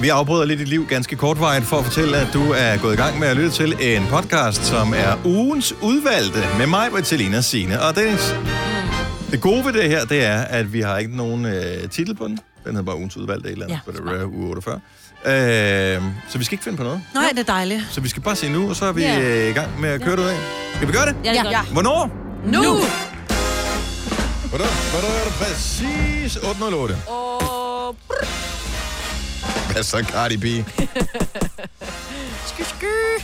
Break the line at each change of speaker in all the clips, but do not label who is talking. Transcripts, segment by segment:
Vi afbryder lidt dit liv ganske kortvarigt for at fortælle, at du er gået i gang med at lytte til en podcast, som er ugens udvalgte med mig, Bertilina Sine og Dennis.
Mm.
Det gode ved det her, det er, at vi har ikke nogen øh, titel på den. Den hedder bare ugens udvalgte et eller andet, ja, det er uge 48. Øh, så vi skal ikke finde på noget.
Nej, det er dejligt.
Så vi skal bare se nu, og så er vi
Ja.
øh, i gang med at køre det ud af. Skal vi gøre det?
Ja, det er Ja. godt.
Hvornår?
Nu! nu.
Hvornår? Hvornår er det præcis 8.08?
Og...
Hvad så, Cardi B?
Sky, sky.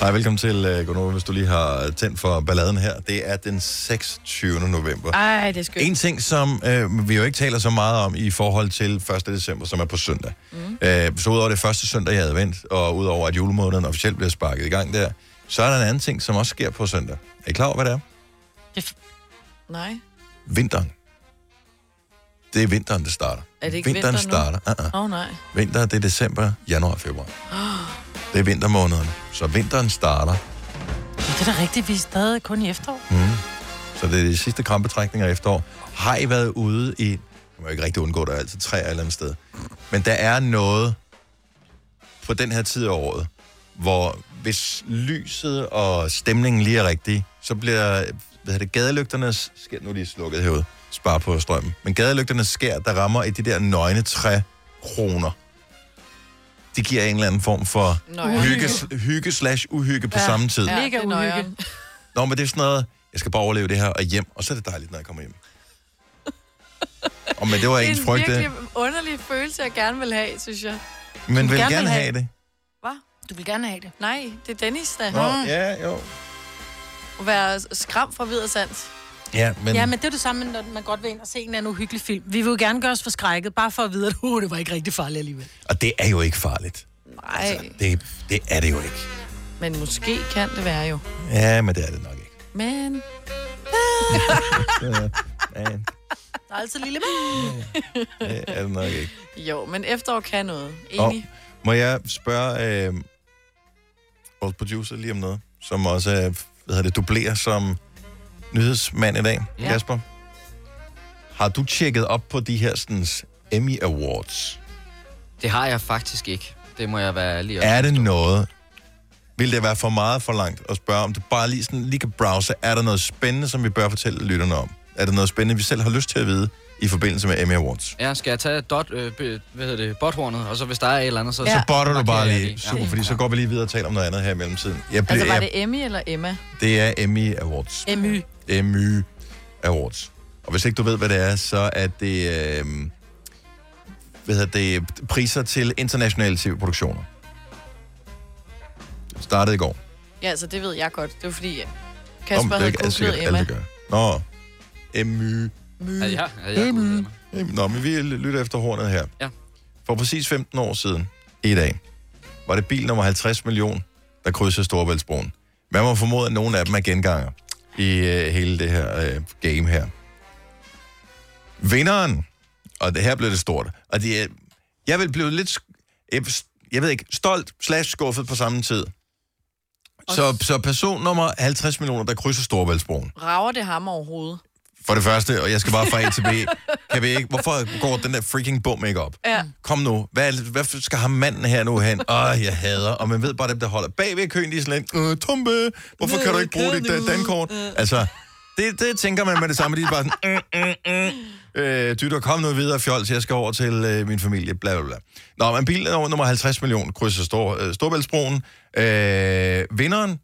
Hej, velkommen til uh, Gunova, hvis du lige har tændt for balladen her. Det er den 26. november.
Ej, det er skønt.
En ting, som øh, vi jo ikke taler så meget om i forhold til 1. december, som er på søndag. Mm. Øh, så udover det første søndag i advent, og udover at julemåneden officielt bliver sparket i gang der, så er der en anden ting, som også sker på søndag. Er I klar over, hvad det er?
Nej.
Vinteren. Det er vinteren, det starter.
Er det ikke
vinteren
vinter nu?
starter. Uh-uh.
Åh, oh, nej.
Vinter, det er december, januar og februar.
Oh,
Det er vintermånederne. Så vinteren starter
det er da rigtigt, vi er stadig kun i efterår.
Mm. Så det er de sidste krampetrækninger i efterår. Har I været ude i... Du må ikke rigtig undgå, der er altid træer et eller andet sted. Men der er noget på den her tid af året, hvor hvis lyset og stemningen lige er rigtig, så bliver hvad hedder det, gadelygternes... Skær, nu er de slukket herude. Spar på strømmen. Men gadelygternes skær, der rammer i de der nøgne træ kroner. Det giver en eller anden form for
Nøje.
hygge, hygge slash uhygge på ja, samme tid.
Ja, Mega uhygge.
Nå, men det er sådan noget, jeg skal bare overleve det her og hjem, og så er det dejligt, når jeg kommer hjem. og men det var
Det er
ens
en
frygt,
virkelig
det.
underlig følelse, jeg gerne vil have, synes jeg.
Men vil
gerne
gerne
vil
have det.
Hvad? Du vil gerne have det. Nej, det er Dennis, der.
Nå, ja, jo.
At være skram fra videre sands.
Ja, men...
Ja, men det er det samme, når man godt vil ind og se en eller anden uhyggelig film. Vi vil jo gerne gøre os forskrækket, bare for at vide, at uh, det var ikke rigtig farligt alligevel.
Og det er jo ikke farligt.
Nej, altså.
Det, det er det jo ikke.
men måske kan det være jo.
Ja, men det er det nok ikke.
Men...
Det er,
Der er altid lille
det er det nok ikke.
Jo, men efterår kan noget.
Og
Enig.
må jeg spørge øh, vores producer lige om noget, som også øh, hvad hedder det, dublerer som nyhedsmand i dag,
Ja.
ja. Kasper? Har du tjekket op på de her sådan, Emmy Awards?
Det har jeg faktisk ikke. Det må jeg være ærlig om.
Er det noget, vil det være for meget for langt at spørge, om du bare lige, sådan, lige kan browse, er der noget spændende, som vi bør fortælle lytterne om? Er der noget spændende, vi selv har lyst til at vide i forbindelse med Emmy Awards?
Ja, skal jeg tage dot, øh, be, hvad hedder det, botthornet, og så hvis der er et eller andet, så...
Ja. Så botter du
markerer
bare
jeg
lige.
det.
Super, fordi så går vi lige videre og taler om noget andet her i mellemtiden. Jeg bliver,
Altså, var
jeg,
det Emmy eller Emma?
det er Emmy Awards.
Emmy.
MY Awards. Og hvis ikke du ved, hvad det er, så er det, øh, hvad hedder det priser til internationale tv-produktioner. Det startede i går.
Ja, altså, det ved jeg godt. Det var fordi, øh,
Nå, men
Kasper
det er
havde
ikke alt sikkert
googlet
alle,
Emma.
der gør. Nå, MY.
My.
Ja, ja, ja, ja.
MY. Nå, men vi lytter efter hornet her.
Ja.
For præcis 15 år siden, i dag, var det bil nummer 50 million, der krydsede Storebæltsbroen. Man må formode, at nogle af dem er genganger i øh, hele det her øh, game her. Vinderen, og det her blev det stort, og det, er- jeg vil blive lidt, sk- jeg, jeg ved ikke, stolt slash skuffet på samme tid. Så, så person nummer 50 millioner, der krydser Storebæltsbroen
Rager det ham overhovedet?
for det første, og jeg skal bare fra A til B. Kan vi ikke? Hvorfor går den der freaking bum ikke op?
Ja.
Kom nu, hvad, hvad skal ham manden her nu hen? Åh, oh, jeg hader, og man ved bare dem, der holder bag ved køen, de er sådan lidt, øh, Tumpe, hvorfor kan du ikke bruge dit øh, dankort? Altså, det, det tænker man med det samme, de er bare sådan, mm, mm, mm. Øh, dytter, kom nu videre, fjols, jeg skal over til øh, min familie, bla bla bla. Nå, men bilen over nummer 50 millioner krydser Stor, øh, Storbæltsbroen. Øh, vinderen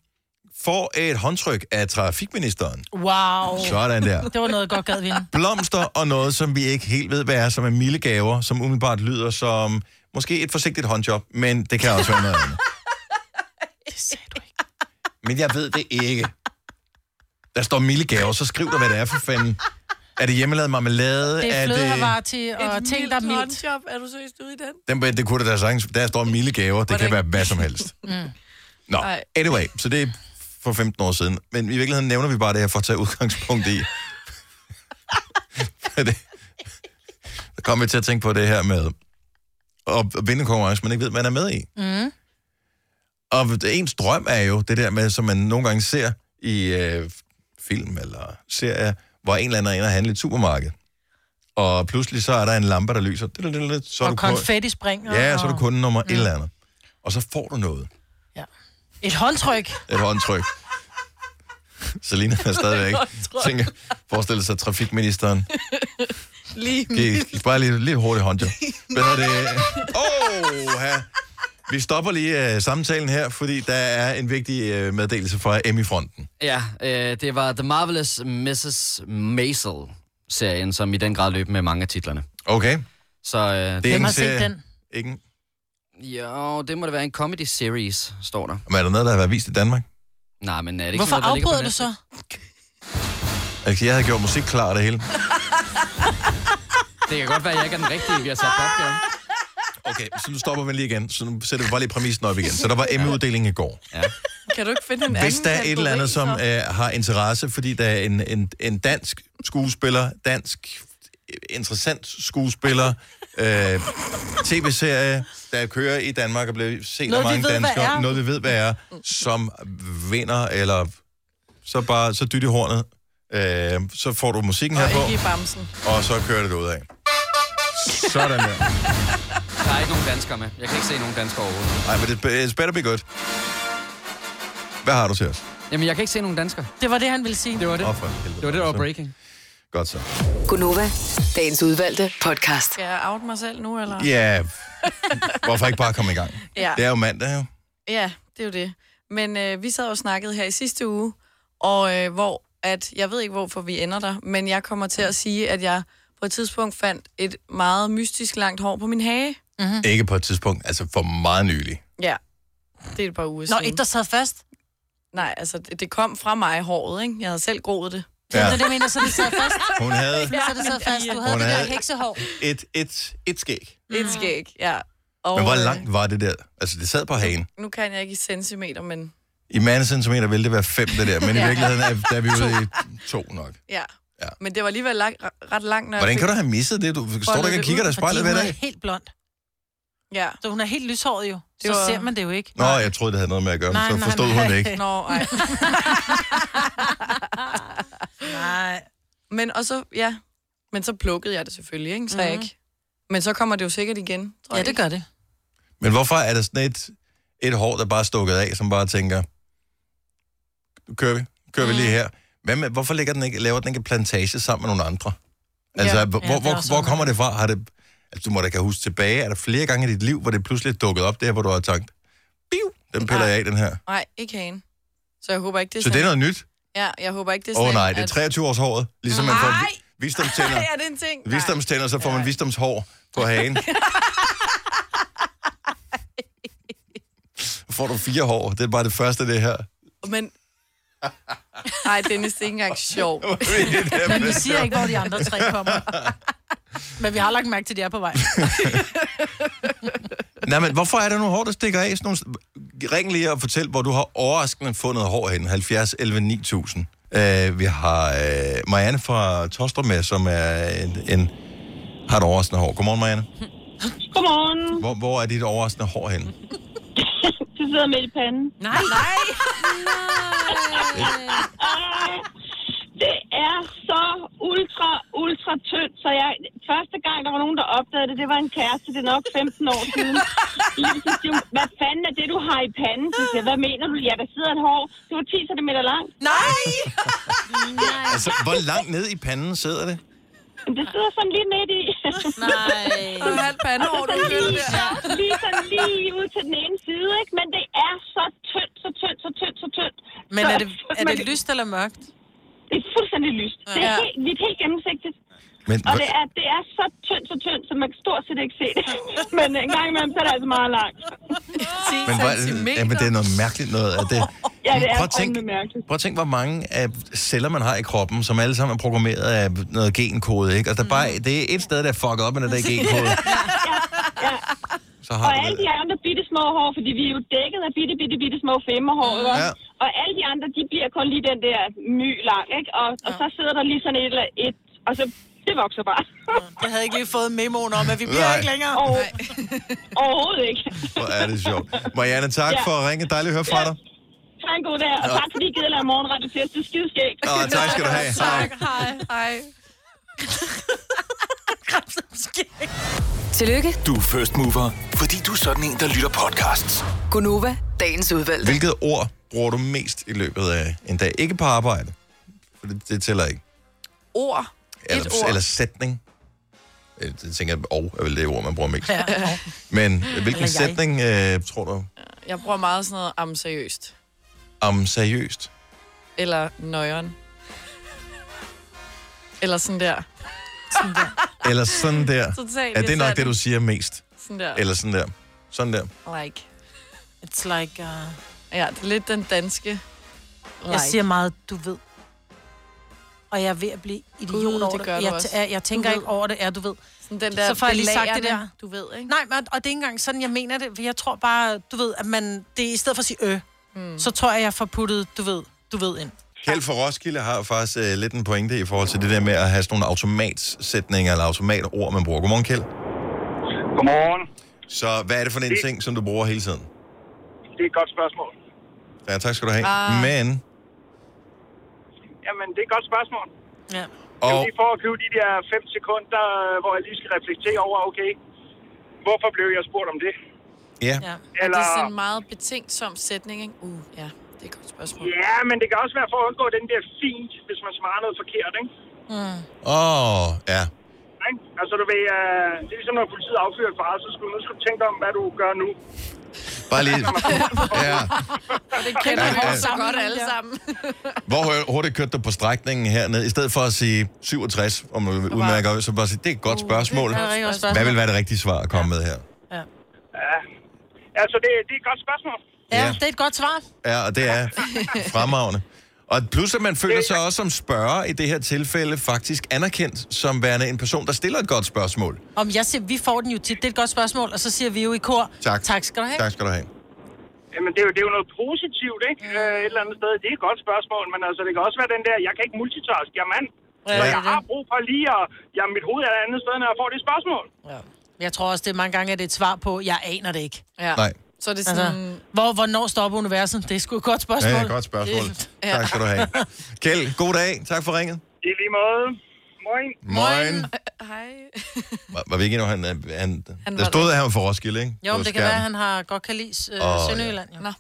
får et håndtryk af trafikministeren.
Wow.
Sådan der.
Det var noget, jeg godt gad vinde.
blomster og noget, som vi ikke helt ved, hvad er, som er milde gaver, som umiddelbart lyder som måske et forsigtigt håndjob, men det kan også være noget andet.
Det sagde du ikke.
Men jeg ved det ikke. Der står milde gaver, så skriv dig, hvad det er for fanden. Er det hjemmelavet marmelade?
Det er flødehavarti og
Et
ting, der er mildt.
håndjob. Er du seriøst ude i den?
Den, det kunne det da sagtens. Der står milde gaver. Det kan være hvad som helst. Mm. Nå,
Ej.
anyway. Så det er for 15 år siden. Men i virkeligheden nævner vi bare det her for at tage udgangspunkt i. Hvad det- Der kommer vi til at tænke på det her med at vinde en konkurrence, man ikke ved, man er med i.
Mm.
Og ens drøm er jo det der med, som man nogle gange ser i øh, film eller serier, hvor en eller anden er inde og handler i et supermarked. og pludselig så er der en lampe, der lyser. Så er
Og
du kun-
konfetti springer.
Ja, så er du
og-
kunde nummer et eller andet. Og så får du noget.
Ja. Et håndtryk.
Et håndtryk. Selina er stadigvæk.
Håndtryk.
Tænker, forestil sig trafikministeren.
Lige
Giv, giv bare lige, lige hurtigt håndjob. Hvad er det? Åh, ja. Vi stopper lige uh, samtalen her, fordi der er en vigtig uh, meddelelse fra Emmy-fronten.
Ja, øh, det var The Marvelous Mrs. Maisel-serien, som i den grad løb med mange af titlerne.
Okay?
Så øh, det...
Det er
Hvem
ikke
har
en
set
serie.
den?
Ikke en-
Jo, det må da være en comedy series, står der.
Men er der noget, der har været vist i Danmark?
Nej, men er det ikke
Hvorfor
sådan, noget, der ligger på
afbryder du
Netflix?
så?
Altså, jeg havde gjort musik klar og det hele.
Det kan godt være, at jeg ikke er den rigtige, vi har sat op her.
Okay, så nu stopper vi lige igen. Så nu sætter vi bare lige præmissen op igen. Så der var Emmy-uddelingen i går.
Kan du ikke finde en
Hvis
anden
der er et eller andet, som
kategori,
øh, har interesse, fordi der er en, en, en dansk skuespiller, dansk øh, interessant skuespiller, øh, tv-serie, der kører i Danmark og bliver set af
Noget, vi
mange
ved, hvad
danskere,
er.
noget vi ved, hvad er, som vinder, eller så bare, så dyt i hornet, øh, så får du musikken her
så-
på,
Ikke i bamsen.
og så kører det ud af. Sådan der.
Der er ikke nogen danskere med. Jeg kan ikke se nogen danskere overhovedet.
Ej, men det it's better be good. Hvad har du til os?
Jamen, jeg kan ikke se nogen danskere.
Det var det, han ville sige.
Det var det.
Åh, for helvede.
Det var det, der var breaking.
Godt så.
Gunova, dagens udvalgte podcast.
Skal jeg out mig selv nu, eller?
Ja, hvorfor ikke bare komme i gang?
Ja.
Det er jo mandag, jo.
Ja, det er jo det. Men øh, vi sad og snakkede her i sidste uge, og øh, hvor at, jeg ved ikke, hvorfor vi ender der, men jeg kommer til at sige, at jeg på et tidspunkt fandt et meget mystisk langt hår på min hage.
Ikke på et tidspunkt, altså for meget nylig.
Ja, det er et par uger
Nå,
siden.
et, der sad fast.
Nej, altså, det, det kom fra mig, håret, ikke? Jeg havde selv groet det.
Ja.
Ja.
Det er det, jeg mener, så det sad fast.
Hun havde
Så det sad fast. Du havde
Hun
det der
havde-
heksehår.
et, et, et skæg.
Mm.
Et skæg, ja. Og,
Men hvor
øh,
langt var det der? Altså, det sad på hagen.
Nu kan jeg ikke i centimeter, men
I mandesentimeter ville det være fem, det der. Men i
Ja.
virkeligheden er, der er vi ude i to nok.
ja.
Ja.
Men det var alligevel lang, ret langt, når
Hvordan
jeg
kan du have misset det? Du står der ikke og kigger dig i
Fordi
spejlet
hun
ved
er
dag.
helt blond.
Ja.
Så hun er helt lyshåret jo.
Det
Så
var-
ser man det jo ikke.
Nå, jeg troede, det havde noget med at gøre, men
Nej,
så
nej,
forstod
nej.
hun det ikke.
Nå, ej.
Nej.
Men, og så, ja. Men så plukkede jeg det selvfølgelig, ikke? Så mm. jeg
Mhm.
ikke. Men så kommer det jo sikkert igen, tror
Ja,
jeg.
det gør det.
Men hvorfor er der sådan et, et hår, der bare er stukket af, som bare tænker, "Nu kører vi, kører vi
Mm.
lige her. Hvad med, hvorfor ligger den ikke, laver den ikke en plantage sammen med nogle andre? Altså, ja,
Ja. Ja,
hvor,
det er
ja, hvor,
også
hvor
sådan.
kommer det fra? Har det, altså, du må da kan huske tilbage, er der flere gange i dit liv, hvor det pludselig er dukket op der, hvor du har tænkt, biu, den piller jeg af, den her.
Nej, ikke hagen. Så jeg håber ikke, det er
Så det er
sådan-
noget nyt?
Ja, jeg håber ikke, det er
Åh oh,
sådan,
nej, det er
at-
23 års håret, ligesom man får
Nej!
vi- visdomstænder.
Ej, er det en ting? Nej.
Visdomstænder, så får man visdomshår på hagen. får du fire hår. Det er bare det første, det her.
Men... Nej, Dennis, det er ikke engang sjovt.
Men vi siger ikke, hvor de andre tre kommer. Men vi har lagt mærke til, at de er på vej.
Nej, men hvorfor er der nogle hår, der stikker af? Sådan nogle... Ring lige og fortæl, hvor du har overraskende fundet hår hen. 70 11 9000. Uh, vi har uh, Marianne fra Tostrup med, som er en, en, har et overraskende hår. Godmorgen, Marianne.
Godmorgen.
Hvor, hvor er dit overraskende hår hen?
Du sidder midt i panden.
Nej, nej.
Ah, det er så ultra, ultra tyndt, så jeg... Første gang, der var nogen, der opdagede det, det var en kæreste, det er nok 15 år siden. Lige så siger hun, hvad fanden er det, du har i panden? Så siger, jeg, hvad mener du? Ja, der sidder et hår. Det var 10 cm langt.
Nej.
Altså, hvor langt ned i panden sidder det?
Men det sidder sådan lige midt i.
Nej.
Du er halvt pandehår, du
Sådan
føler
lige,
der.
lige sådan lige ud til den ene side, ikke? Men det er så tyndt, så tyndt, så tyndt, så tyndt.
Men
Så-
er det, er
man-
det lyst eller mørkt?
Det er fuldstændig lyst. Det er
Ja.
helt, vi er helt gennemsigtigt.
Men,
Og det er, det er så tyndt, så tyndt, så man kan stort set ikke se det. Men en gang imellem, så er det altså meget langt.
10
Men, hvor,
centimeter.
ja, men det er noget mærkeligt noget. At det,
Ja, det er
prøv, at tænk,
fandme mærkeligt.
prøv at tænk, hvor mange af celler, man har i kroppen, som alle sammen er programmeret af noget genkode. Ikke? Altså, der er
Mm.
bare, det er et sted, der er fucket op med den der genkode.
Ja.
Så
Og
har du
alle
det.
de andre bitte små hår, fordi vi er jo dækket af bitte, bitte, bitte små femmerhår, ikke?
Ja.
også? Og alle de andre, de bliver kun lige den der my lang, ikke? Og, og så sidder der lige sådan et eller et, og så det vokser bare.
Jeg havde ikke lige fået memoen om, at vi bliver
Nej.
ikke længere.
Og, overhovedet ikke.
Hvor er det sjovt. Marianne, tak
Ja.
for at ringe. Dejligt at høre fra dig.
Tak en god dag, og tak fordi I gider lade morgenradio til os. Det er skideskægt.
Nå, tak skal du have. Hej.
Tak, hej. Hej.
krebsomskæg.
Tillykke,
Du er first mover, fordi du er sådan en, der lytter podcasts.
Gunova, dagens udvalgte.
Hvilket ord bruger du mest i løbet af en dag? Ikke på arbejde, for det, det tæller ikke.
Ord.
Eller,
Et ord.
eller sætning. Øh, Det tænker jeg, og er vel det ord, man bruger mest.
Ja,
Men hvilken
jeg.
sætning øh, tror du
Jeg bruger meget sådan noget am seriøst.
om seriøst?
Eller nøjeren. Eller sådan der.
Eller sådan der.
Totalt.
Er det nok det, du siger mest?
Sådan der.
Eller sådan der. Sådan der.
Like.
It's like, uh,
Ja, det er lidt den danske. Like.
jeg siger meget, du ved. Og jeg er ved at blive idiot
Gud,
over
det
det.
gør du
jeg,
også.
jeg, jeg tænker
ved.
ikke over det, ja, du ved.
sådan den der
så får jeg lige sagt det
belærende,
der.
Du ved, ikke?
Nej, men, og det er ikke engang sådan, jeg mener det. for Jeg tror bare, du ved, at man, det er i stedet for at sige ø,
Hmm.
mm. så tror jeg, jeg får puttet, du ved, du ved ind.
Kjeld for Roskilde har faktisk øh, lidt en pointe i forhold til det der med at have sådan nogle automatsætninger eller automatord, man bruger. Godmorgen, Kjeld.
Godmorgen.
Så hvad er det for en ting, som du bruger hele tiden?
Det er et godt spørgsmål.
Ja, tak skal du have.
Ah.
Men,
Jamen, det er et godt spørgsmål.
Ja.
Det er
og
jo lige for at købe de der 5 sekunder, øh, hvor jeg lige skal reflektere over, okay, hvorfor blev jeg spurgt om det?
ja,
ja.
Eller... Det
Eller,
er sådan en meget betænksom sætning, ikke? Uh, ja, det er et godt spørgsmål.
ja, men det kan også være for at undgå den der fint, hvis man svarer noget forkert, ikke?
åh, ja.
Ikke? Altså, du ved, øh, det er ligesom når politiet affyrer et far, så skulle nu skulle du tænke dig om, hvad du gør nu.
Bare lige. Ja.
Det kender
Ja,
vi
ja.
også så godt alle sammen.
Hvor hu- hurtigt kørte du på strækningen hernede? I stedet for at sige 67, om du udmærker, øje, så bare sige, det er et godt spørgsmål.
Uh, Det er rigtig godt
Hvad vil
spørgsmål.
være det rigtige svar at komme med her?
Altså, det, det er et godt spørgsmål.
Ja,
Ja.
det er et godt svar.
Ja, og det er fremragende. Og plus, at man føler sig også som spørger i det her tilfælde faktisk anerkendt som værende en person, der stiller et godt spørgsmål.
Om jeg siger, vi får den jo tit, det er et godt spørgsmål, og så siger vi jo i kor,
Tak.
tak skal du have.
Tak skal du have.
Jamen, det er jo, det er jo noget positivt, ikke?
Mm.
Øh, et eller andet sted. Det er et godt spørgsmål, men altså, det kan også være den der, jeg kan ikke multitask, jeg er mand. Så
det er
jeg har brug for lige at... Jamen, mit hoved er et andet sted, når jeg får det spørgsmål.
Ja. Jeg tror også, det er mange gange, at det er et svar på, jeg aner det ikke.
Ja.
Nej.
Så er det sådan...
Altså, hvor, hvornår stopper universet? Det er sgu et godt spørgsmål.
Ja, godt spørgsmål.
Ja.
Tak skal du have. Kjeld, god dag. Tak for ringet.
I lige måde. Moin.
Moin.
Hej.
Var, var vi ikke endnu, han, øh, han, han der
var
stod, at han var fra Roskilde, ikke?
Jo,
På
men det kan
skærmen.
være, at han har godt kan lide øh,
Åh,
oh, Sønderjylland. Ja.
Nå.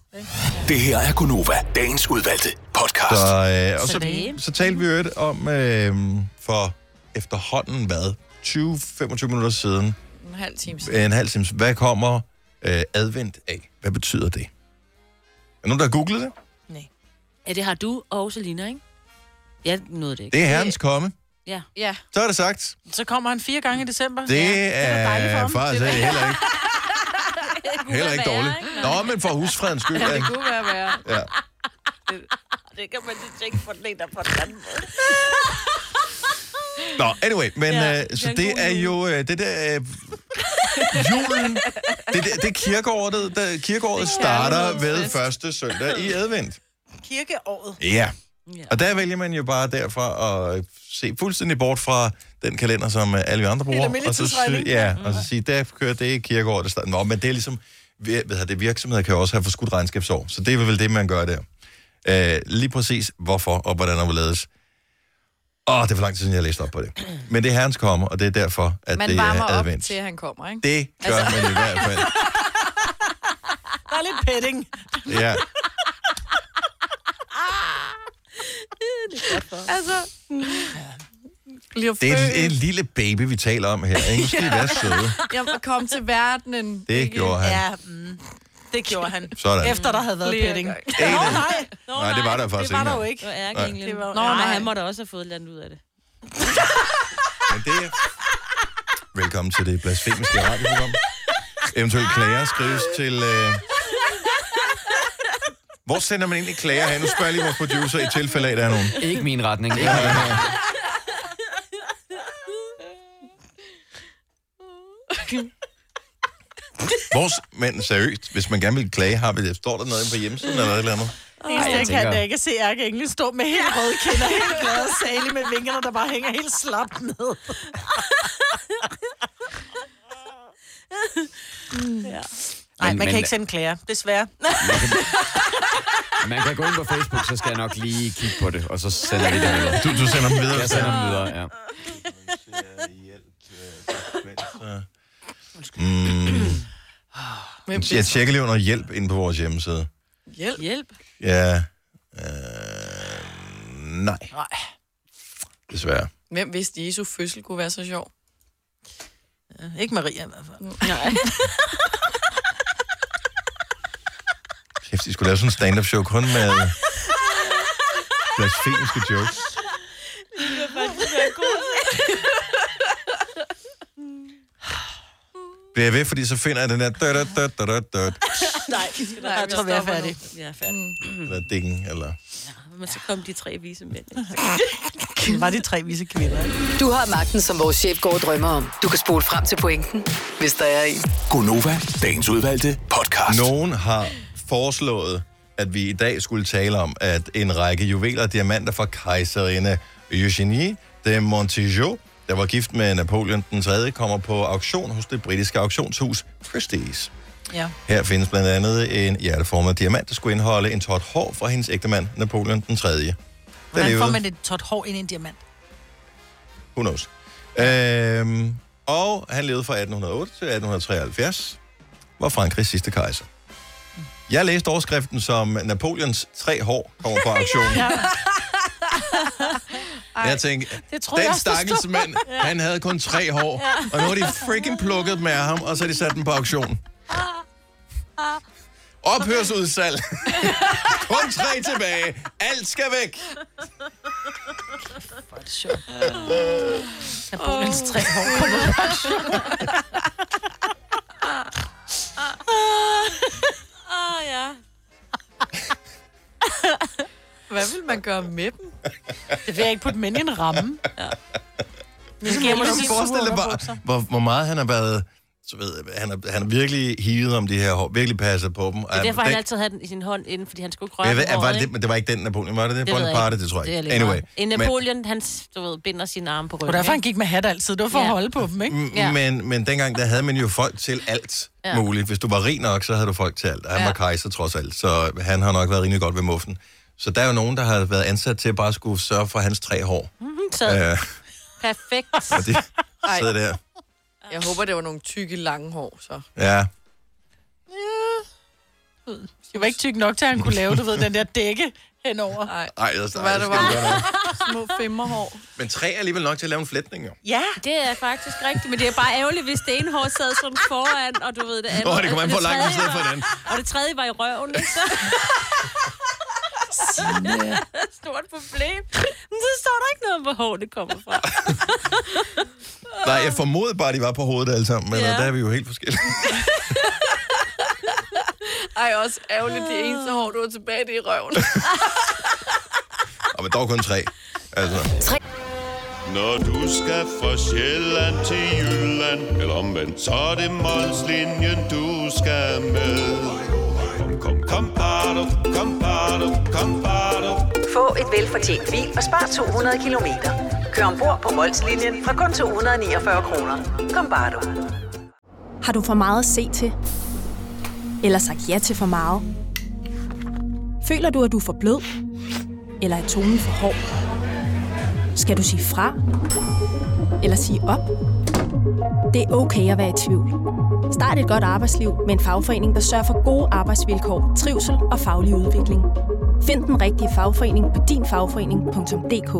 Det her er Gunova, dagens udvalgte podcast. Så.
Så, øh, og
Så
så,
det-
så talte vi jo et om øh, for efterhånden, hvad? 20-25 minutter siden,
En halv time siden.
en halv time, hvad kommer øh, advent af? Hvad betyder det? Er der nogen, der har googlet det?
Ja, det har du og Selina, ikke? Jeg nåede det ikke.
Det er herrens komme.
Ja.
Ja,
Så er det sagt.
Så kommer han fire gange i december.
Det
Ja, da dejligt for
er
ham.
faktisk
Det er-
heller ikke,
Det
heller ikke dårligt. Nå, men for husfredens skyld.
det
ikke?
kunne være værre.
Ja.
Det kan man lige tænke på den ene og på den anden måde.
Nå, anyway, men ja,
Ja,
øh, så
det er en
det
god
er jo øh, det der øh, julen, det, det, det kirkeåret, der, kirkeåret starter ved første søndag i advent.
Kirkeåret.
Ja.
Ja.
Og der vælger man jo bare derfra at se fuldstændig bort fra den kalender, som øh, alle vi andre bruger.
almindelig
Og så, sy-
tidsregning.
ja, og så sige, der kører det i kirkeåret. Der starter. Nå, men det er ligesom, ved, ved det, virksomheder kan jo også have forskudt regnskabsår, så det er vel det, man gør der. Øh, lige præcis hvorfor og hvordan og hvorledes. Åh, det er for lang tid siden, jeg har læst op på det. Men det er herrens kommer, og det er derfor, at
Man
det er
varmer op
advent.
til, at han kommer, ikke?
Det gør altså... man i hvert fald.
Der er lidt petting.
Ja.
Altså... Bliver
Det er en, en
født.
lille baby, vi taler om her. Ikke? Nu skal I være søde.
Jeg kom til verdenen.
Det gjorde han.
Ja, mm, det gjorde han.
Sådan.
Efter der havde været
Flere
petting.
gange.
Nå, nej. Nå,
Nej, det var der faktisk
det var
ikke
der jo
engang.
Det var ærgerligt.
ikke. Det
Det
var-
var, Nå,
Nej.
nej. han måtte også have fået et eller andet ud af det.
Men det er... Velkommen til det blasfemiske radioprogram. Eventuelt klager skrives til... Øh... Hvor sender man egentlig klager hen? Nu spørger jeg lige vores producer i tilfælde af, at der er nogen.
Ikke min retning. Ikke min retning.
Vores, men seriøst, hvis man gerne vil klage, har vi det. Står der noget inde på hjemmesiden eller et eller andet?
Det eneste, jeg
tænker-
kan, da ikke se Ærke Engel stå med helt røde kinder, helt glade og salig med vingerne, der bare hænger helt slapt ned. Nej, man
men-
kan ikke sende klager, desværre.
Man kan gå ind på Facebook, så skal jeg nok lige kigge på det, og så sender vi det videre.
Du, du sender dem videre.
Jeg sender dem videre, ja.
Så... Mm. Jeg tjekker lige under hjælp inde på vores hjemmeside.
Hjælp. Hjælp.
Ja. Øh, nej,
Nej.
desværre.
Hvem vidste, Jesu fødsel kunne være så sjov?
Ikke Maria i hvert fald.
Nej.
Kæft, de skulle lave sådan en stand-up show kun med øh, blasfemiske jokes. Bliver jeg ved, fordi så finder jeg den der død, død, død, død, død,
Nej,
Nej, jeg tror, vi er færdige.
Vi er færdige.
eller dingen, eller...
Men så kom de tre vise mænd.
Var de tre vise kvinder, ikke?
Du har magten, som vores chef går og drømmer om. Du kan spole frem til pointen, hvis der er en.
Gonova, dagens udvalgte podcast.
Nogen har foreslået, at vi i dag skulle tale om, at en række juveler og diamanter fra kejserinde Eugenie de Montijo, der var gift med Napoleon den 3., kommer på auktion hos det britiske auktionshus Christie's.
Ja.
Her findes blandt andet en hjerteformet diamant, der skulle indeholde en tot hår fra hendes ægtemand Napoleon den 3. Den
Hvordan får man et tot hår ind i en diamant?
Who knows? Øhm, og han levede fra 1808 til 1873, var Frankrigs sidste kejser. Jeg læste overskriften som Napoleons tre hår kommer på auktionen. Jeg tænkte,
Det tror jeg
den
også, der
stakkels mand, han havde kun tre hår, og nu har de freaking plukket med ham, og så har de sat den på auktion.
Ah,
Ophørsudsalg. kun tre tilbage. Alt skal væk.
Napoleons tre hår kommer på auktion.
Ah, ja.
Hvad vil man gøre med dem?
Det vil jeg ikke putte mænd i en ramme. Ja. skal jeg må sige
Forestil dig bare, hvor, hvor meget han har været... Så ved jeg, han har, han har virkelig hivet om de her hår, virkelig passet på dem.
Det er derfor, han altid havde den i sin hånd inden, fordi han skulle ikke røre
jeg ved,
ved,
jeg, var det, men det var ikke den Napoleon, var det det?
ved jeg
Bonaparte,
ikke.
det tror jeg
Det er
ikke.
lidt
Anyway.
meget. En Napoleon, han du ved, binder sine arme på ryggen.
Og derfor han
ikke?
gik med hat altid. Det var for at
Ja.
holde på dem, ikke?
Men,
Ja.
men, men dengang, der havde man jo folk til alt ja.
Ja.
muligt. Hvis du var rig nok, så havde du folk til alt. Og han ja.
Ja.
var kejser trods alt, så han har nok været rimelig godt ved muffen. Så der er jo nogen, der har været ansat til at bare skulle sørge for hans tre hår.
Så
Ja. Øh,
perfekt.
og de sidder der.
Jeg håber, det var nogle tykke, lange hår, så.
Ja.
Det var ikke tyk nok til, at han kunne lave, du ved, den der dække henover.
Nej,
Ej, altså,
Hvad
ej,
det
skal
var?
vi gøre noget.
små femmerhår.
Men tre er alligevel nok til at lave en flætning, jo.
Ja.
Det er faktisk rigtigt, men det er bare ærgerligt, hvis det ene hår sad sådan foran, og du ved det andet.
Åh, det kommer an
og
på, hvor langt
tredje
du sidder på
var-
den.
Og det tredje var i røven, ikke? Så... Stort problem. Men så står der ikke noget om, hvor hår det kommer fra.
Nej, jeg formodede bare, at de var på hovedet alle sammen, men
Ja.
ja. der er vi jo helt forskellige.
Ej, også ærgerligt, det eneste hår, du har tilbage, det er i røven.
Og men dog kun tre. Altså.
Når du skal fra Sjælland til Jylland, eller omvendt, så er det Molslinjen, du skal med. Kom, kom, kom, bado, kom, bado, kom, bado.
Få et velfortjent bil og spar 200 kilometer. Kør ombord på Molslinjen fra kun 249 kroner. Kom bare du.
Har du for meget at se til? Eller sagt ja til for meget? Føler du, at du er for blød? Eller er tonen for hård? Skal du sige fra? Eller sige op? Det er okay at være i tvivl. Start et godt arbejdsliv med en fagforening, der sørger for gode arbejdsvilkår, trivsel og faglig udvikling. Find den rigtige fagforening på dinfagforening.dk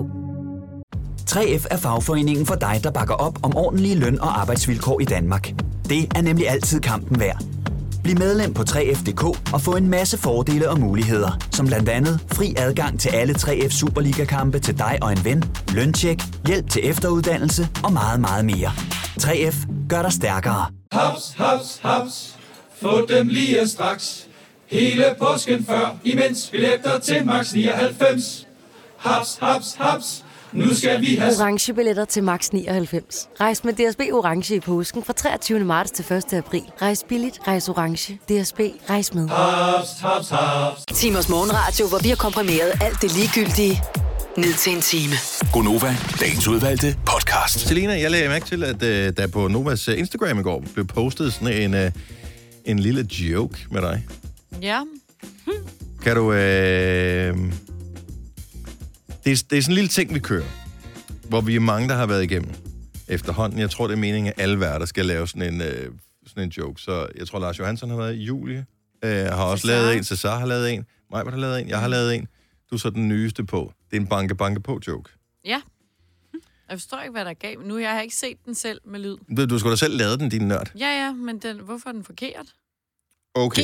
3F er fagforeningen for dig, der bakker op om ordentlige løn- og arbejdsvilkår i Danmark. Det er nemlig altid kampen værd. Bliv medlem på 3F.dk og få en masse fordele og muligheder, som blandt andet fri adgang til alle 3F Superliga-kampe til dig og en ven, løntjek, hjælp til efteruddannelse og meget, meget mere. 3F gør dig stærkere.
Haps, haps, haps. Få dem lige straks. Hele påsken før, imens billetter til max 99. Haps, haps, haps. Nu skal vi have...
orange billetter til max 99. Rejs med DSB orange i påsken fra 23. marts til 1. april. Rejs billigt, rejs orange. DSB rejs med.
Haps, haps, haps.
Timers morgenradio, hvor vi har komprimeret alt det ligegyldige ned til en time.
Gonova, dagens udvalgte podcast.
Selina, jeg lagde mærke til, at øh, der på Novas øh, Instagram i går blev postet sådan en, øh, en lille joke med dig.
ja.
Kan du... Øh... Det, er, det er sådan en lille ting, vi kører, hvor vi er mange, der har været igennem. efterhånden. Jeg tror, det er meningen, at alle værter skal lave sådan en, øh, sådan en joke. Så jeg tror, Lars Johansson har været i Julie. Øh, har også Cesar. lavet en. Cesar har lavet en. Majbert har lavet en. Jeg har lavet en. Du er så den nyeste på. Det er en banke-banke-på-joke.
Ja. Jeg forstår ikke, hvad der gav. Nu jeg har ikke set den selv med lyd.
Du, du skulle da selv lave den, din nørd.
Ja, ja, men den, hvorfor er den forkert?
Okay.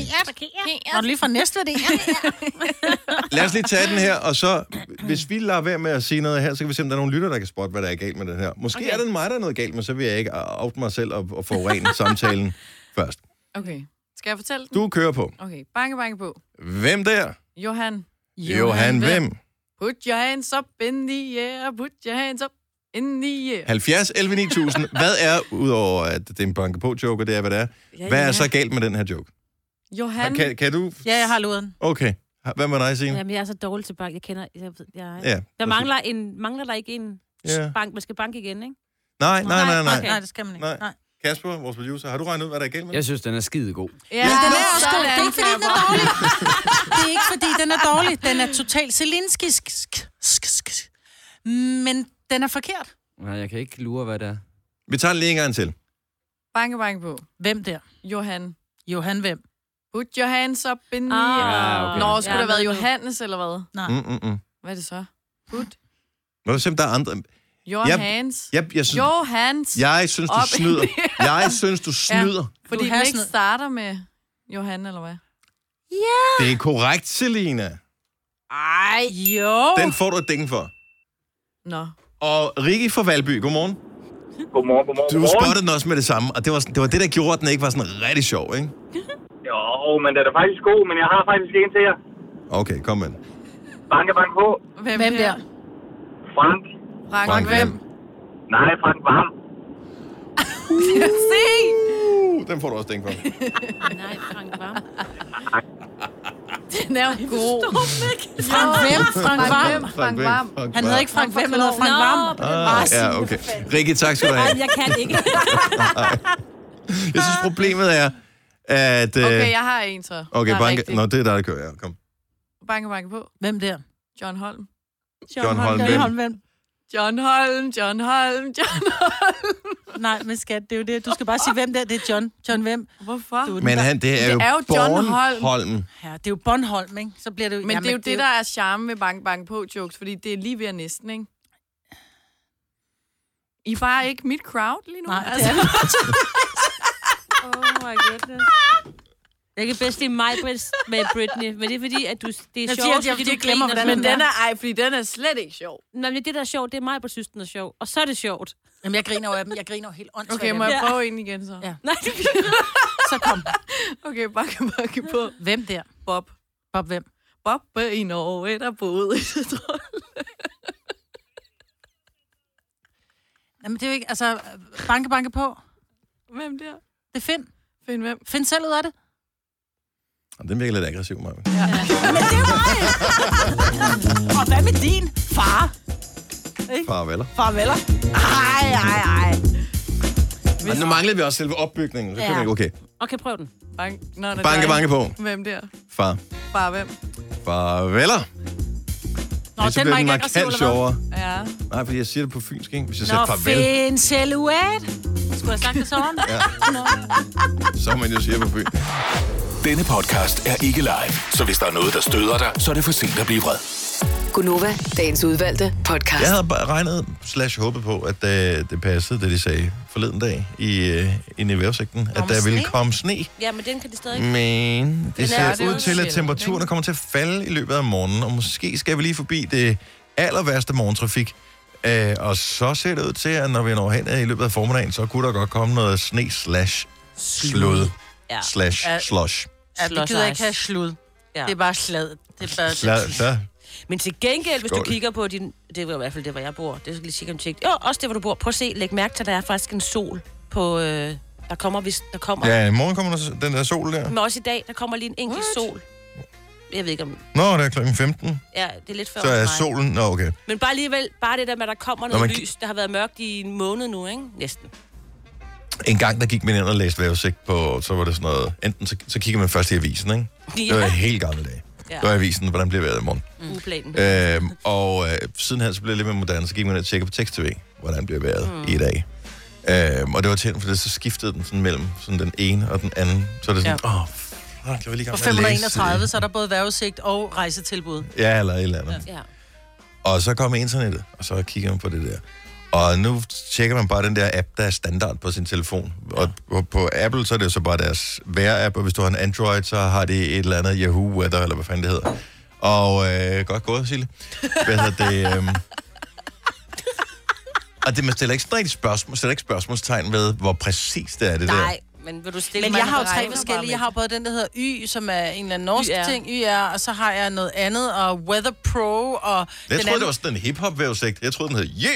Var du lige fra Næstved, det er?
Lad os lige tage den her, og så, hvis vi lader være med at sige noget her, så kan vi se, om der er nogle lytter, der kan spotte, hvad der er galt med den her. Måske okay. er det mig, der er noget galt med, så vil jeg ikke out mig selv og, og forurene samtalen først.
Okay. Skal jeg fortælle den?
Du kører på.
Okay, banke, banke på.
Hvem der?
Johan.
Johan, hvem?
Put your hands up in the air, put your hands up in the air.
70 11 9000. Hvad er, udover at det er en banke på joke, og det er, hvad det er,
Ja,
hvad er
ja.
så galt med den her joke?
Johan.
Kan, kan du...
Ja, jeg har luden.
Okay. Hvad med dig, Signe?
Jamen, jeg er så dårlig til bank. Jeg kender... Jeg, ved- jeg,
Ja,
der
præcis.
mangler, en, mangler der ikke en
Ja.
ja. bank. Man skal banke igen, ikke?
Nej, nej, nej, nej.
Okay. Nej, det skal man ikke.
Nej. Kasper, vores producer, har du regnet ud, hvad der er galt med den?
Jeg synes, den er skide god.
Ja, den er også god.
sådan,
Det Ah, er ikke, fordi den er dårlig. Det er ikke, fordi den er dårlig. Den er totalt zelinskisk. Men den er forkert.
Nej, jeg kan ikke lure, hvad det er.
Vi tager den lige en gang til.
Banke, banke på.
Hvem der?
Johan.
Johan hvem?
Put your hands up in the
Ah,
air.
Ah, okay.
Nå, skulle
Ja,
ja, der have været
ved du.
Johannes, eller hvad?
Nej.
Mm, mm, mm.
Hvad er det så? Put
Nå, simpelthen, der er andre...
your
Jeg-
hands.
jeg- jeg synes-
your hands.
Jeg synes, du
op in
snyder.
the air.
Jeg synes, du snyder.
Ja, fordi
Du
den
har
ikke
snyd.
starter med Johan, eller hvad?
Det er korrekt, Selina.
Ej,
jo.
Den får du et ding for.
Nå.
Og Rikke fra Valby, godmorgen.
Godmorgen, godmorgen,
Du
godmorgen.
spottede den også med det samme, og det var, sådan- det var det, der gjorde, at den ikke var sådan rigtig sjov, ikke?
Jo, men den er faktisk god, men jeg har faktisk en til jer.
Okay, kom med. den.
Banke, banke på.
Hvem, hvem der?
Frank.
Frank, Frank hvem?
Nej, Frank Varm.
Se!
Uh, den får du også ding for.
Nej, Frank Varm.
Den er jo god.
Frank hvem? Frank Varm.
Frank Varm. Frank
Han hedder ikke Frank hvem, han hedder Frank
Nå,
Varm.
Ah, ja, okay. Rikke, tak skal du have.
Ej, jeg kan ikke.
Jeg synes, problemet er, at... øh,
Okay, jeg har en så.
Okay,
Der er
banke...
rigtig.
Nå, det er der, der kører. Ja, kom.
Banke, banke på.
Hvem der?
John Holm.
John Holm, hvem?
hvem?
John Holm, John Holm, John Holm.
Nej, men skat, det er jo det. Du skal bare sige, hvem der det er John. John hvem?
Hvorfor?
Du,
Men han, det er jo, Bornholm.
Ja, det er jo Bornholm, ikke? Så bliver det jo...
Men det er jo det, der er charme med bank bank på jokes, fordi det er lige ved at næsten, ikke? I er bare ikke mit crowd lige nu.
Nej,
altså.
det Oh my goodness. Jeg kan bedst lide mig med Britney, men det er fordi, at du, det
Jeg
er
siger,
sjovt,
at jeg-
fordi
jeg
du
glemmer,
griner
hvordan
sådan
den
der.
er. Ej, fordi den er slet ikke sjov.
Nå, men det, der er sjovt, det er mig, der synes, den er sjov. Og så er det sjovt.
Jamen, jeg griner jo af dem. Jeg griner jo helt åndssvagt.
Okay,
af
må
dem.
jeg prøve en igen så?
Ja.
Nej,
Så kom.
Okay, bakke, bakke på.
Hvem der?
Bob.
Bob hvem?
Bob i Norge, der boede i Trolle.
Jamen, det er jo ikke... Altså, banke, banke på.
Hvem der?
Det er Finn.
Finn hvem?
Finn selv ud af det.
Jamen, Den virker lidt aggressiv, mig.
Men det er mig! Og hvad med din far?
Farveler.
Farveler. Ej, ej, ej.
Men nu manglede vi også selve opbygningen. Så kan
Ja.
vi ikke, okay.
Okay, prøv den.
Bank, Nå, det er
Banke,
dig.
banke på.
Hvem der?
Far.
Bare hvem?
Farveler.
Nå,
Ellers så
den
bliver
var ikke
markant
aggressiv, eller hvad?
sjovere.
Ja.
Nej, fordi jeg siger det på fynsk, ikke? Hvis jeg siger
Nå,
farvel,
Finn Silhouette. Skulle jeg have sagt det sådan?
Ja. så man jo siger på fyn.
Denne podcast er ikke live, så hvis der er noget, der støder dig, så er det for sent at blive vred.
Gunova, dagens udvalgte podcast.
Jeg havde bare regnet slash håbet på, at øh, det passede, det de sagde forleden dag i, øh, i vejrudsigten, at
Om
der ville
sne?
komme sne.
Ja, men den kan det stadig ikke.
Men
Den
det
er
ser
jo
ud til, at
sjældent,
temperaturen kommer til at falde i løbet af morgenen, og måske skal vi lige forbi det aller værste morgentrafik. Øh, og så ser det ud til, at når vi når hen i løbet af formiddagen, så kunne der godt komme noget sne slash slud
Ja.
slash
Ja.
slush.
Ja, det gider jeg ikke have slud.
Ja.
Det er bare slad. Det er bare...
Slad, slad.
Men til gengæld, hvis du
Mm. Skål.
kigger på din... Det var i hvert fald det, hvor jeg bor. Det skal lige sige, om tjekke. Jo, også det, hvor du bor. Prøv at se, læg mærke til, at der er faktisk en sol på... Øh, der kommer, hvis der kommer...
Ja, i morgen kommer der s- den der sol der.
Men også i dag, der kommer lige en enkelt sol. Jeg ved ikke om...
Nå, det er klokken 15.
Ja, det er lidt før
Så er
mig.
solen... Nå, okay.
Men bare alligevel, bare det der med, at der kommer
Når
noget
man-
lys. Der har været mørkt i en måned nu, ikke? Næsten.
En gang, der gik man ind og læste vejrudsigt på, så var det sådan noget... Enten så, så kigger man først i avisen, ikke? Det var
Ja.
helt gamle dage.
Ja.
Det var avisen, hvordan bliver vejret i morgen.
Mm. Uplanen.
øhm, og øh, sidenhen så blev det lidt mere moderne, så gik man ind og tjekkede på tekst-tv, hvordan bliver vejret mm. i dag. Øhm, og det var tændt, for det, så skiftede den sådan mellem sådan den ene og den anden. Så er det sådan, åh, ja. oh, fuck, jeg vil lige
På
gerne have læst, øh,
531, så er der både værvesigt og rejsetilbud.
Ja, eller et eller andet.
Ja.
Og så kom internettet, og så kigger man på det der. Og nu tjekker man bare den der app, der er standard på sin telefon. Og på, på Apple, så er det jo så bare deres vejr-app, og hvis du har en Android, så har de et eller andet Yahoo Weather, eller hvad fanden det hedder. Og øh, godt gået, Sille. Hvad hedder det? Øh... Og det, man stiller ikke sådan rigtig spørgsmål, man stiller ikke spørgsmålstegn ved, hvor præcis det er, det der.
Nej, men vil du stille
Men
mig
jeg
en
har jo tre
regnebar
forskellige.
med
Jeg har både den, der hedder Y, som er en eller anden norsk
YR.
ting, YR, og så har jeg noget andet, og Weather Pro, og...
Jeg
den
troede, det
anden-
var sådan en hip-hop-vævesigt. Jeg troede, den hed Yeah!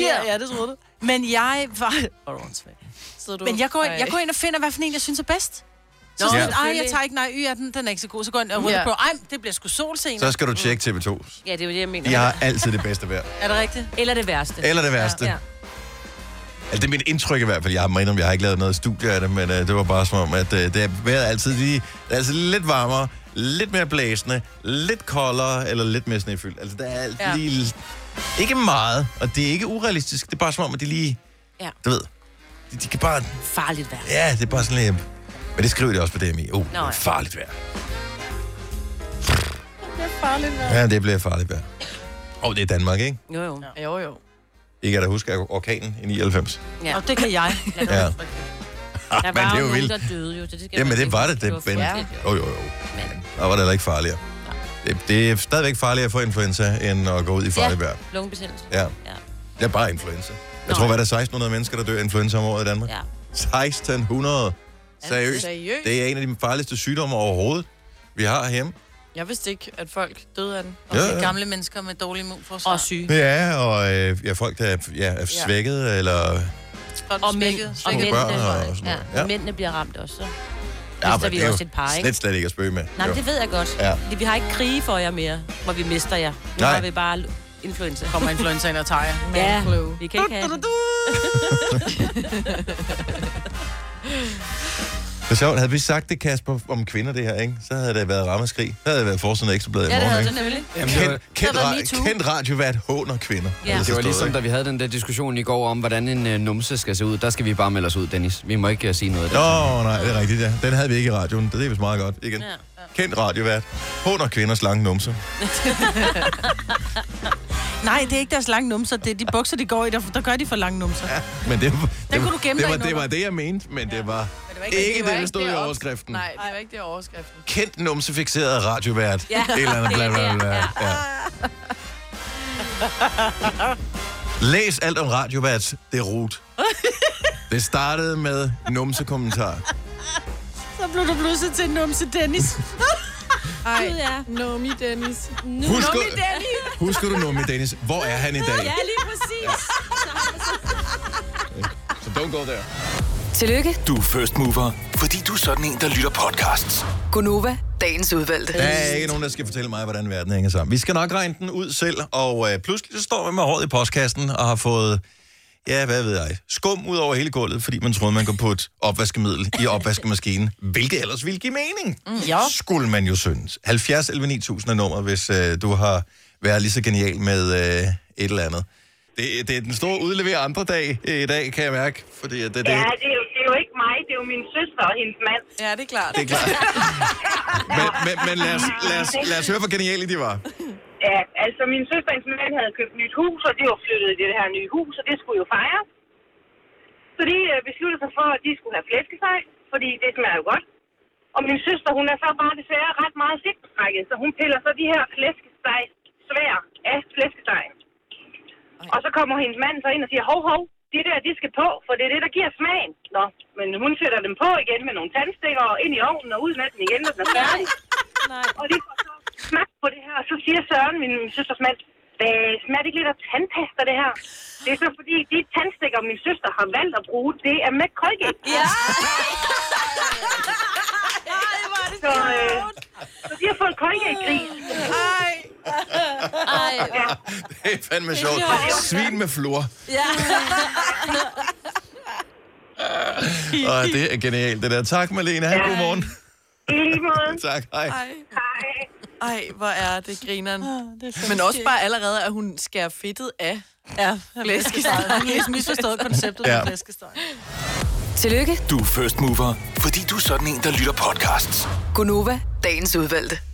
Yeah, ja, det troede du. Men jeg var... Så
du-
Men jeg går, ind, jeg
Ej.
går ind og finder, hvad for en, jeg synes er bedst. Så
Nå,
sådan,
Ja.
ej, jeg tager ikke, nej, y er den, den er ikke så god. Så går jeg ind og
Ja.
Weather Pro. Ej, det bliver sgu solscener.
Så skal du tjekke TV2.
Ja, det er jo det, jeg mener.
De har altid det bedste vejr.
Er det rigtigt?
Eller det værste.
Eller det værste.
Ja.
Altså, det er mit indtryk i hvert fald. Jeg har mig om, jeg har ikke lavet noget studie af det, men øh, det var bare som om, at øh, det er vejret altid lige, det er altid lidt varmere, lidt mere blæsende, lidt koldere, eller lidt mere snefyldt. Altså, der er alt
Ja.
ja. lige... Ikke meget, og det er ikke urealistisk. Det er bare som om, at de lige...
Ja.
Du ved, de, de kan bare...
Farligt værd.
Ja, det er bare sådan lidt... Men det skriver de også på DMI. Oh, det
ja.
er farligt vejr.
Det er farligt, hvad?
Ja, det bliver farligt vejr. Og oh, det er Danmark, ikke?
Jo, jo.
Jo, jo.
I kan da huske orkanen i 99.
Ja.
Og det kan jeg.
Lad
Ja.
mig udtrykke det. Der
Men det
var
er
jo
jo
nogen,
vildt.
der døde jo. Så det skal
Jamen,
man
det
ikke
var
huske.
det. Det,
var
det men,
forfærdeligt,
jo, jo, jo. Der var det heller ikke farligere. Det, det er stadigvæk farligere at få influenza, end at gå ud i farligt vejr.
Ja, lungebetændelse.
Ja. Det er bare influenza. Jeg tror, hvad der er 1600 mennesker, der dør af influenza om året i Danmark.
Ja.
1600. Seriøst.
seriøst?
Det er en af de farligste sygdomme overhovedet, vi har herhjemme.
Jeg vidste ikke, at folk døde af den.
Ja, ja.
Gamle mennesker med dårlig immunforsvar. Og syge.
Ja, og øh, ja, folk, der er, ja, er svækket, ja. eller...
Og, mænd, og,
Små
mændene,
børn og sådan
ja.
noget.
Ja.
Ja.
mændene bliver ramt også. Så.
Ja,
mister vi
det er
også et par, ikke?
slet, slet ikke at spøge med.
Nej,
Jo.
men det ved jeg godt.
Ja.
Ja. Vi har ikke krige for jer mere, hvor vi mister jer. Nu
Nej.
har vi bare influenza.
Kommer influenza ind og tager jer.
Ja, vi kan ikke have det.
Det er sjovt. Havde vi sagt det, Kasper, om kvinder det her, ikke? så havde det været rammeskrig. Så havde det været forsiden af ekstrabladet
Ja,
i
det
morgen.
havde det
ikke?
nemlig.
Jamen, det var-
Kendt, kendt,
Det havde været
ra-
MeToo.
kendt radiovært håner kvinder. Altså,
Ja.
Eller
Det var
sådan
ligesom,
noget,
da vi havde den der diskussion i går om, hvordan en øh, numse skal se ud. Der skal vi bare melde os ud, Dennis. Vi må ikke øh, sige noget af det.
ikke? Nå, nej, det er rigtigt, ja. Den havde vi ikke i radioen. Det er vist meget godt. Igen. Ja. Kendt radiovært. Håner kvinders lange numse.
Nej, det er ikke deres lange numser. Det er de bukser, de går i, der, der gør de for lange numser. Ja.
Men det, var- det,
kunne
var-
du
det,
gemme dig
var,
ind
det var det, jeg mente, men det var, men det var ikke,
var
ikke det, der
ikke
stod
det
i
op-
overskriften.
Nej, det var ikke det overskriften.
Kendt numsefixeret radiovært.
Ja,
Et eller andet,
det
bla,
er
bla,
det,
bla.
ja.
Ja. Læs alt om radiovært. Det er rot. Det startede med numsekommentarer.
Så blev du pludselig til numse Dennis.
Ej, Nomi Dennis.
Husk-
Nomi Dennis.
Husker du nummer Dennis? Hvor er han i dag?
Ja, lige præcis.
Så don't go there.
Tillykke,
Du er first mover, fordi du er sådan en, der lytter podcasts.
Gunova, dagens udvalgte.
Der er ikke nogen, der skal fortælle mig, hvordan verden hænger sammen. Vi skal nok regne den ud selv, og øh, pludselig så står man med håret i postkassen og har fået, ja, hvad ved jeg, skum ud over hele gulvet, fordi man troede, man kunne putte opvaskemiddel i opvaskemaskinen, hvilket ellers ville give mening. Mm,
ja.
Skulle man jo synes. 70 11 9000 er nummer, hvis øh, du har været lige så genial med øh, et eller andet. Det, det er den store udlevere andre dag øh, i dag, kan jeg mærke. Fordi at det, det,
Ja, det er, jo, det er jo ikke mig, det er jo min søster og hendes mand.
Ja, det er klart.
det er klart. Men, men, men lad, os, lad, os, lad os høre, hvor geniale de var.
Ja, altså min søster og hendes mand havde købt nyt hus, og de var flyttet i det her nye hus, og det skulle jo fejres. Så de øh, besluttede sig for, at de skulle have flæskesteg, fordi det smager jo godt. Og min søster, hun er så bare desværre ret meget sigtrækket, så hun piller så de her flæskesteg svær af flæskestegen. Og så kommer hendes mand så ind og siger, hov, hov, det der, det skal på, for det er det, der giver smagen. Nå, men hun sætter dem på igen med nogle tandstikker og ind i ovnen og ud med den igen, når den er færdig. Og de får så smag på det her, og så siger Søren, min søsters mand, hvad smager det ikke lidt af tandpasta, det her? Det er så fordi, de tandstikker, min søster har valgt at bruge, det er med Colgate. Ja! Så, øh, så de har fået Colgate-gris.
Ej!
Ej.
Det er fandme sjovt. Svin med flor.
Ja.
Og det er genialt, det der. Tak, Malene. Ha' en god morgen.
I lige måde.
Tak, hej.
Hej.
Ej, hvor er det grineren.
det er fandme
Men også
skægt.
bare allerede, at hun skærer fedtet af. Ja, flæskesteg.
Hun har misforstået konceptet
Ja.
med flæskesteg.
Tillykke.
Du er first mover, fordi du er sådan en, der lytter podcasts.
Gunova, dagens udvalgte.